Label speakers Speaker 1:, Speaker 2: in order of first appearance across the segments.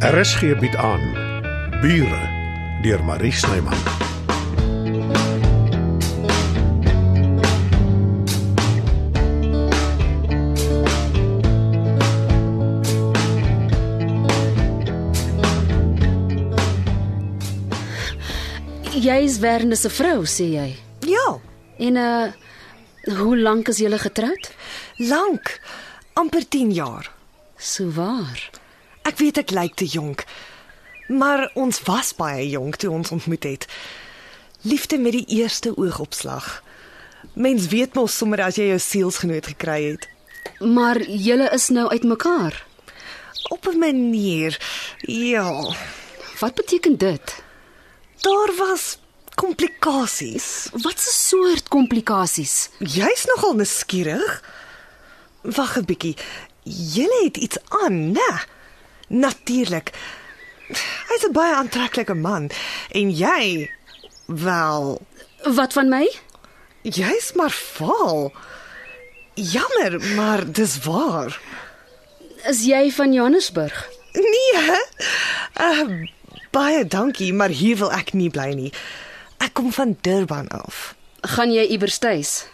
Speaker 1: RSG bied aan Bure deur Marie Snyman.
Speaker 2: Jy is Werner se vrou, sê jy.
Speaker 3: Ja,
Speaker 2: En uh hoe lank is julle getroud?
Speaker 3: lank. Amper 10 jaar.
Speaker 2: So waar.
Speaker 3: Ek weet ek lyk te jonk. Maar ons was baie jonk toe ons ontmoet het. Liefde met die eerste oogopslag. Mens weet mos sommer as jy jou sielsgenoot gekry het.
Speaker 2: Maar julle is nou uitmekaar.
Speaker 3: Op 'n manier. Ja,
Speaker 2: Wat beteken dit?
Speaker 3: daar was komplikasies.
Speaker 2: Wat 'n soort komplikasies?
Speaker 3: Jy's nogal nuuskierig. Wag 'n bietjie. Jy het iets aan, né? Natuurlik. Hy's 'n baie aantreklike man en jy wel,
Speaker 2: Wat van my?
Speaker 3: jy's maar vaal. Jammer, maar dis waar.
Speaker 2: Is jy van Johannesburg?
Speaker 3: Nee. Uh, baie dankie, maar hier wil ek nie bly nie. Ek kom van Durban af.
Speaker 2: Gaan jy iewers tuis?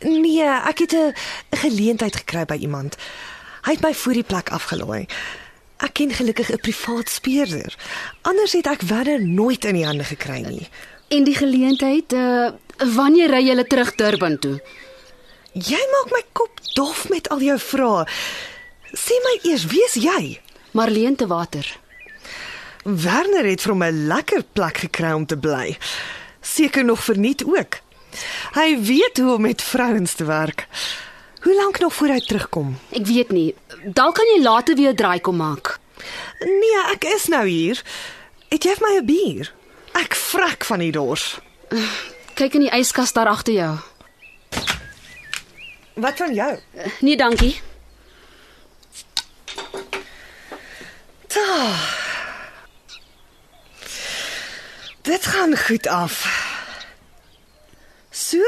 Speaker 3: Nee, ek het 'n geleentheid gekry by iemand. Hy het my voor die plek afgelaai. Ek ken gelukkig 'n privaat speurder. Anders het ek verder nooit in die hande gekry nie.
Speaker 2: En die geleentheid uh wanneer ry julle terug Durban toe?
Speaker 3: Jy maak my kop dof met al jou vrae. Sê my eers, wie is jy?
Speaker 2: Marleen te water.
Speaker 3: Werner het vir my 'n lekker plek gekry om te bly. Seker nog verniet ook. Hy weet hoe om met vrouens te werk. Hoe lank nog voor hy terugkom?
Speaker 2: Ek weet nie. Dalk kan jy later weer 'n draai kom maak.
Speaker 3: Nee, ek is nou hier. Het jy vir my 'n bier? Ek vrek van die dors.
Speaker 2: Kyk in die yskas daar agter jou.
Speaker 3: Wat van jou?
Speaker 2: Nee, dankie.
Speaker 3: Ta. Dit gaan goed af. So.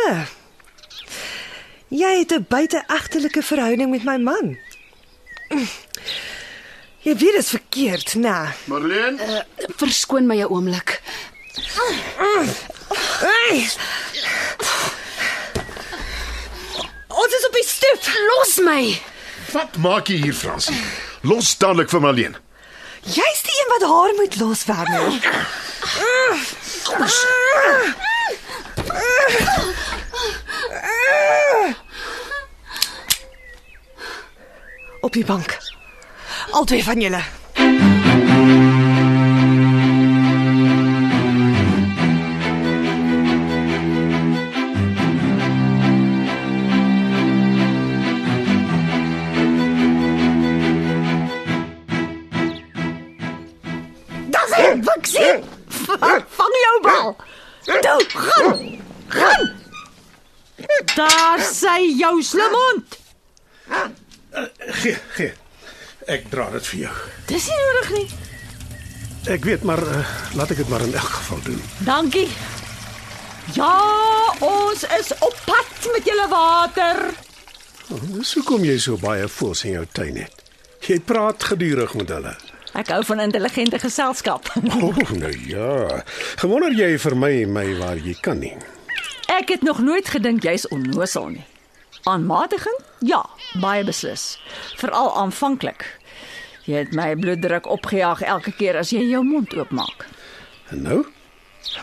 Speaker 3: Jy het 'n buiteegtelike verhouding met my man. Jy weet dit is verkeerd, né? Nee.
Speaker 4: Marleen,
Speaker 2: Verskoon my 'n oomblik.
Speaker 3: Hey. Ons is op die stoep.
Speaker 2: Los my.
Speaker 4: wat maak jy hier, Fransie? Los dadelik vir Marleen.
Speaker 3: Jy's die een wat haar moet los, Werner. Op die bank. Albei van julle. Dis dit, Bixie. Vang jou bal. Toe, Nou, gaan.
Speaker 5: Daar sy jou slimond.
Speaker 1: Gee, gee. Ek dra dit vir jou.
Speaker 5: Dis nie nodig nie.
Speaker 1: Ek weet maar uh, laat ek dit maar in elk geval doen.
Speaker 5: Dankie. Ja, ons is op pad met julle water.
Speaker 1: Oh, Dis hoekom jy so baie voëls in jou tuin het. Jy praat gedurig met hulle.
Speaker 5: Ek hou van intelligente geselskap.
Speaker 1: O, oh, nou ja. Gewonder jy vir my my waar jy kan nie.
Speaker 5: Ek het nog nooit gedink jy's onnosel nie. Aanmatiging? Ja, baie beslis. Veral aanvanklik. Jy het my bloeddruk opgejaag elke keer as jy jou mond oopmaak.
Speaker 1: En nou?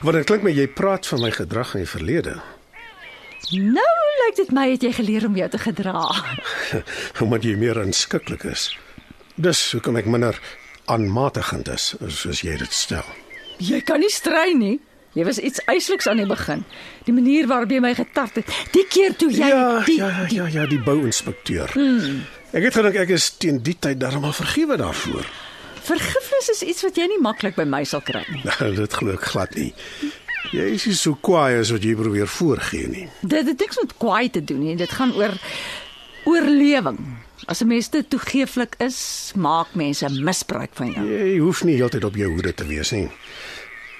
Speaker 1: Want dit klink my jy praat van my gedrag in die verlede.
Speaker 5: Nou lyk dit my het jy geleer om jou te gedra.
Speaker 1: omdat jy meer aanskiklik is. Dus hoekom ek minder aanmatigend is, soos jy dit stel.
Speaker 5: Jy kan nie strei nie. Jy was iets eisliks aan die begin. Die manier waarop jy my getart het. Die keer toe jy
Speaker 1: ja,
Speaker 5: die,
Speaker 1: ja, ja, ja, die bouinspekteur. Hmm. Ek het gedink ek is teen die tyd darm maar vergewe daarvoor.
Speaker 5: Vergifnis is iets wat jy nie maklik by my sal kry nie.
Speaker 1: Nou, dit glo ek glad nie. Jy is nie so kwaai as wat jy probeer voorgee nie.
Speaker 5: Dit het niks met kwaai te doen nie. Dit gaan oor oorlewing. As 'n mens te toegeeflik is, maak mense misbruik van jou.
Speaker 1: Jy hoef nie heeltyd op jou hoede te wees nie.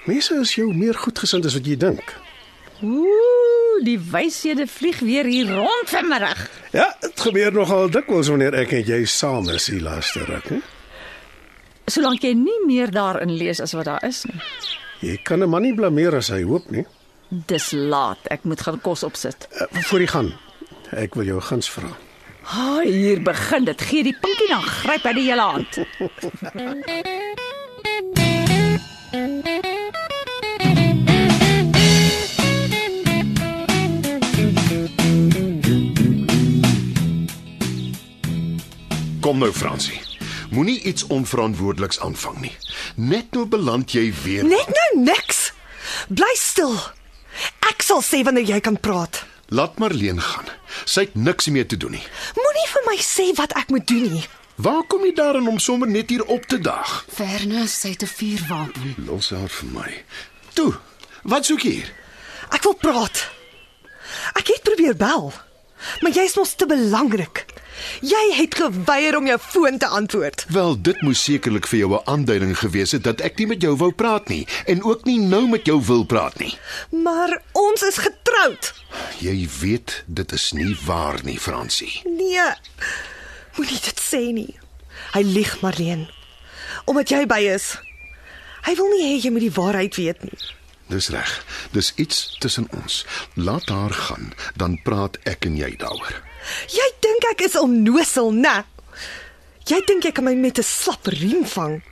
Speaker 1: Mense is jou meer goedgesind as wat jy dink.
Speaker 5: Ooh, die wyshede vlieg weer hier rond vanmiddag.
Speaker 1: Ja, dit gebeur nogal dikwels wanneer ek en jy saam is die laaste ruk, hè?
Speaker 5: solank jy nie meer daarin lees as wat daar is nie.
Speaker 1: Jy kan 'n man nie blameer as hy hoop nie.
Speaker 5: Dis laat. Ek moet gaan kos opsit.
Speaker 1: Uh, voor jy gaan, ek wil jou guns vra.
Speaker 5: Ha, hier begin dit. Gee die pinkie dan gryp hy die hele hand.
Speaker 4: Kom nou Fransie. Moenie iets onverantwoordeliks aanvang nie. Net nou beland jy weer.
Speaker 3: Net nou niks. Bly stil. Ek sal sê wanneer jy kan praat.
Speaker 4: Laat Marleen gaan. Sy het niks mee te doen nie.
Speaker 3: Moenie vir my sê wat ek moet doen nie.
Speaker 4: Waar kom jy daarin om sommer net hier op te daag?
Speaker 2: Vernus het 'n vuurwapen.
Speaker 4: Los haar vir my. Toe. Wat soek jy hier?
Speaker 3: Ek wil praat. Ek het probeer bel, maar jy's mos te belangrik. Jy het geweier om jou foon te antwoord.
Speaker 4: Wel, dit moes sekerlik vir jou 'n aanduiding gewees het dat ek nie met jou wou praat nie en ook nie nou met jou wil praat nie.
Speaker 3: Maar ons is getroud.
Speaker 4: Jy weet dit is nie waar nie, Fransie.
Speaker 3: Nee. Moenie dit sê nie. Hy lieg, Marleen. Omdat jy by is. Hy wil nie hê jy moet die waarheid weet nie.
Speaker 4: Dis reg. Dis iets tussen ons. Laat haar gaan, dan praat ek en jy daaroor.
Speaker 3: Jy dink ek is onnosel, né? Jy dink jy kan my met 'n slap riem vang.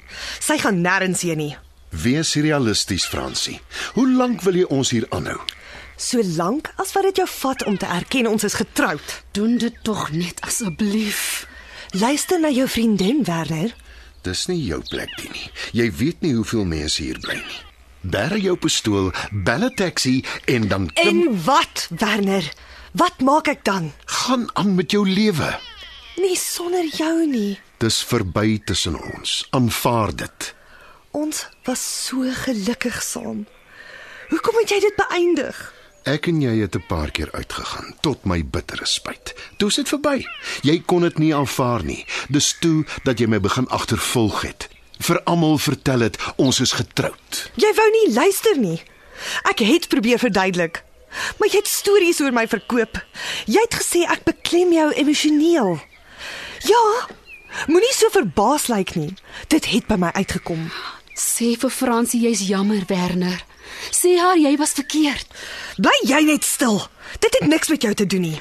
Speaker 3: Sy gaan nêrens heen nie.
Speaker 4: Wees realisties, Fransie. Hoe lank wil jy ons hier aanhou?
Speaker 3: Solank as wat dit jou vat om te erken ons is getroud.
Speaker 2: Doen dit tog net asseblief.
Speaker 3: Luister na jou vriendin Werner.
Speaker 4: Dis nie jou plek die nie. Jy weet nie hoeveel mense hier bly nie. Bære jou pistool, bel 'n taxi en dan klim
Speaker 3: En wat, Werner? Wat maak ek dan?
Speaker 4: gaan aan met jou lewe.
Speaker 3: Nie Nee, sonder jou nie.
Speaker 4: Dis verby tussen ons. Aanvaar dit.
Speaker 3: Ons was so gelukkig saam. Hoekom het jy dit beëindig?
Speaker 4: Ek en jy het 'n paar keer uitgegaan tot my bittere spyt. Toe is dit verby. Jy kon dit nie aanvaar nie. Dis toe dat jy my begin agtervolg het. Vir almal vertel het ons is getroud.
Speaker 3: Jy wou nie luister nie. Ek het probeer verduidelik. Maar jy het stories oor my verkoop. Jy het gesê ek beklem jou emosioneel. Ja, moenie so verbaas lyk nie. Dit het by my uitgekom.
Speaker 2: Sê vir Fransie jy's jammer, Werner. Sê haar jy was verkeerd.
Speaker 3: Bly jy net stil. Dit het niks met jou te doen nie.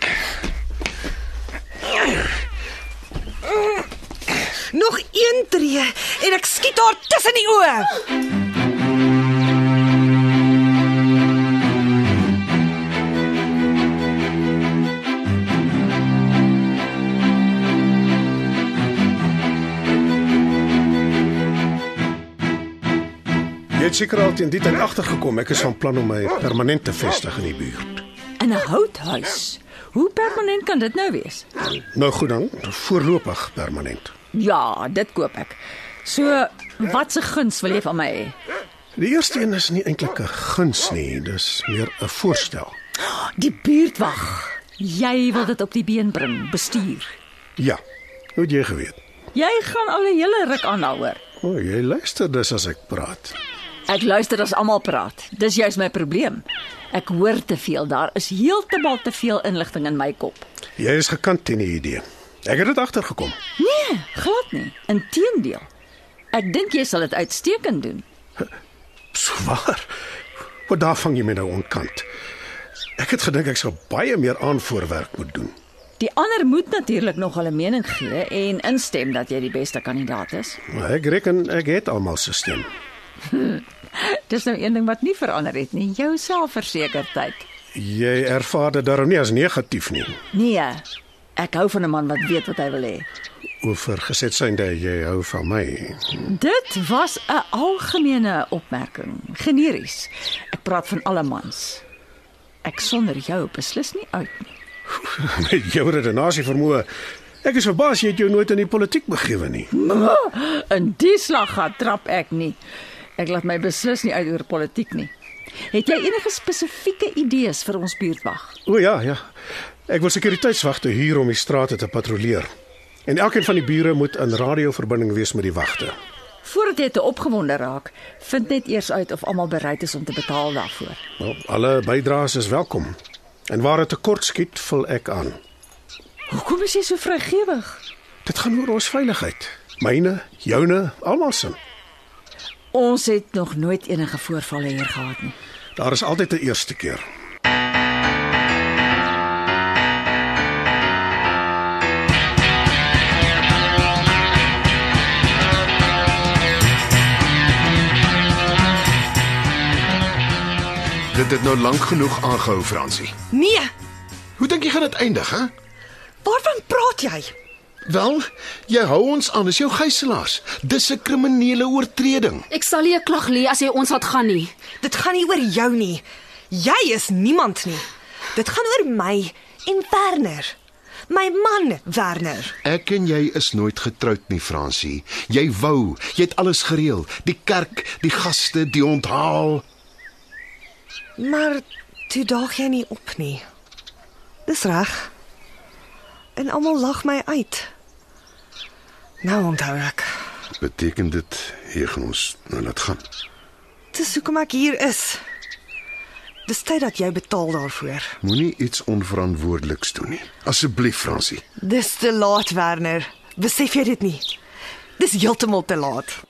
Speaker 3: Nog een tree en ek skiet haar tussen die oë.
Speaker 1: Jy het seker al teen die tyd agtergekom ek is van plan om my permanent te vestig in die buurt.
Speaker 5: In 'n houthuis. Hoe permanent kan dit nou wees?
Speaker 1: Nou goed dan, voorlopig permanent.
Speaker 5: Ja, dit koop ek. So, watse guns wil jy van my hê?
Speaker 1: Die eerste een is nie eintlik 'n guns nie, dis meer 'n voorstel.
Speaker 5: Ja, Die buurtwag. Jy wil dit op die been bring, bestuur.
Speaker 1: Ja. Hoe het jy geweet?
Speaker 5: Jy gaan al 'n hele ruk aan daaroor.
Speaker 1: O, oh, jy luister dus as ek praat.
Speaker 5: Ek luister as almal praat. Dis juis my probleem. Ek hoor te veel. Daar is heeltemal te veel inligting in my kop.
Speaker 1: Jy is gekant teen die idee. Ek het dit agtergekom.
Speaker 5: Nee, glad nie. Inteendeel. Ek dink jy sal dit uitstekend doen.
Speaker 1: Swaar. Wat daar vang jy my nou onkant. Ek het gedink ek sou baie meer aanvoorwerk moet doen.
Speaker 5: Die ander moet natuurlik nog hulle mening gee en instem dat jy die beste kandidaat is.
Speaker 1: Maar ek reken ek het almal se stem.
Speaker 5: Dis nou een ding wat nie verander het nie, jou selfversekerdheid.
Speaker 1: Jy ervaar dit daarom nie as negatief nie.
Speaker 5: Nee. Ek hou van 'n man wat weet wat hy wil hê.
Speaker 1: Oor gesê synde jy hou van my.
Speaker 5: Dit was 'n algemene opmerking, generies. Ek praat van alle mans. Ek sonder jou beslis nie uit nie.
Speaker 1: Met jou redenasie vermoë. Ek is verbaas jy het jou nooit in die politiek begewe nie.
Speaker 5: In die slag gaan trap ek nie. Ek laat my beslis nie uit oor politiek nie. Het jy enige spesifieke idees vir ons buurtwag?
Speaker 1: O ja, ja. Ek wil sekuriteitswagte huur om die strate te patrolleer. En elkeen van die bure moet in radioverbinding wees met die wagte.
Speaker 5: Voordat jy te opgewonde raak, vind net eers uit of almal bereid is om te betaal daarvoor.
Speaker 1: Wel, alle bydraes is welkom. En waar dit tekort skiet, vul ek aan.
Speaker 5: Hoekom is jy so vrygewig?
Speaker 1: Dit gaan oor ons veiligheid. Myne, joune, almal se.
Speaker 5: Ons het nog nooit enige voorvalle hier gehad nie.
Speaker 1: Daar is altyd 'n eerste keer.
Speaker 4: Dit het nou lank genoeg aangehou, Fransie.
Speaker 3: Nee,
Speaker 4: Hoe dink jy gaan dit eindig, hè?
Speaker 3: waarvan praat jy?
Speaker 4: Wel, jy hou ons aan as jou gijslaers. Dis 'n kriminele oortreding.
Speaker 2: Ek sal nie 'n klag lê as jy ons laat gaan nie.
Speaker 3: Dit gaan nie oor jou nie. Jy is niemand nie. Dit gaan oor my en Werner. My man Werner.
Speaker 4: Ek en jy is nooit getroud nie, Fransie. Jy wou, jy het alles gereël, die kerk, die gaste, die onthaal.
Speaker 3: Maar toe daag jy nie op nie. Dis reg. En almal lag my uit. Nou onthou ek.
Speaker 4: Beteken dit hier gaan ons nou laat gaan?
Speaker 3: Dis hoekom ek hier is. Dis tyd dat jy betaal daarvoor.
Speaker 4: Moenie iets onverantwoordeliks doen nie. Asseblief, Fransie.
Speaker 3: Dis te laat, Werner. Besef jy dit nie? Dis heeltemal te laat.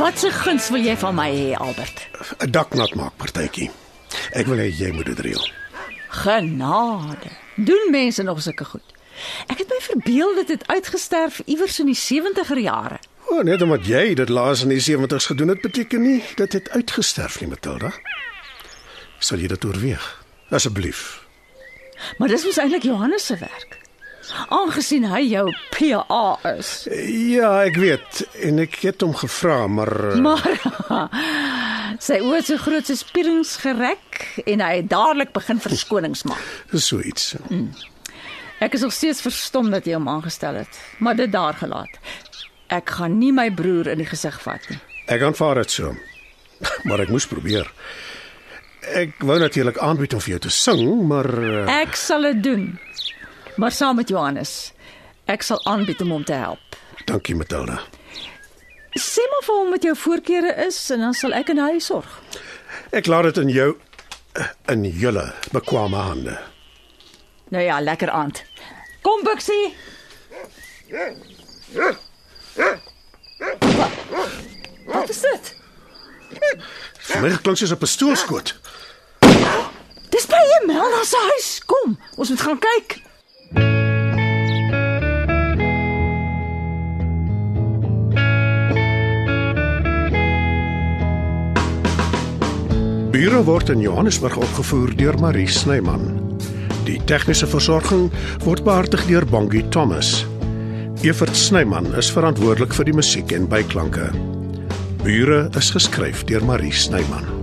Speaker 5: Wat se guns wil jy van my hê, Albert?
Speaker 1: 'n Dak nat maak partytjie. Ek wil hê jy moet dit reël.
Speaker 5: Genade. Doen mense nog sulke goed? Ek het my verbeel dit het uitgesterf iewers in die 70er jare.
Speaker 1: O, oh, net omdat jy dit laas in die 70's gedoen het, beteken nie dit het uitgesterf nie, Matilda. Sal jy dit oorweeg? Asseblief.
Speaker 5: Maar dis mos eintlik Johannes se werk. Aangesien hy jou PA is.
Speaker 1: Ja, ek weet en ek het hom gevra, maar eh,
Speaker 5: Maar sy oë so groot soos pierings gerek en hy het dadelik begin verskonings maak.
Speaker 1: so iets.
Speaker 5: Ek is nog steeds verstom dat jy hom aangestel het, maar dit daar gelaat. Ek gaan nie my broer in die gesig vat nie.
Speaker 1: Ek aanvaar dit so. Maar ek moes probeer. Ek wou natuurlik aanbied om vir jou te sing, maar eh,
Speaker 5: Ek sal dit doen. Maar saam met Johannes. Ek sal aanbied om hom te help.
Speaker 1: dankie Matilda.
Speaker 5: Sê maar vir hom wat jou voorkeure is en dan sal ek en hy sorg.
Speaker 1: Ek laat dit in jou eh, in julle bekwame hande.
Speaker 5: Nou ja, lekker aand. Kom Buxie. Wat, wat is dit?
Speaker 1: Vir my klink soos 'n pistoolskoot.
Speaker 5: Dis by Emelda se huis. Kom, ons moet gaan kyk.
Speaker 1: Bure word in Johannesburg opgevoer deur Marie Snyman. Die tegniese versorging word behartig deur Bongie Thomas. Evert Snyman is verantwoordelik vir die musiek en byklanke. Bure is geskryf deur Marie Snyman.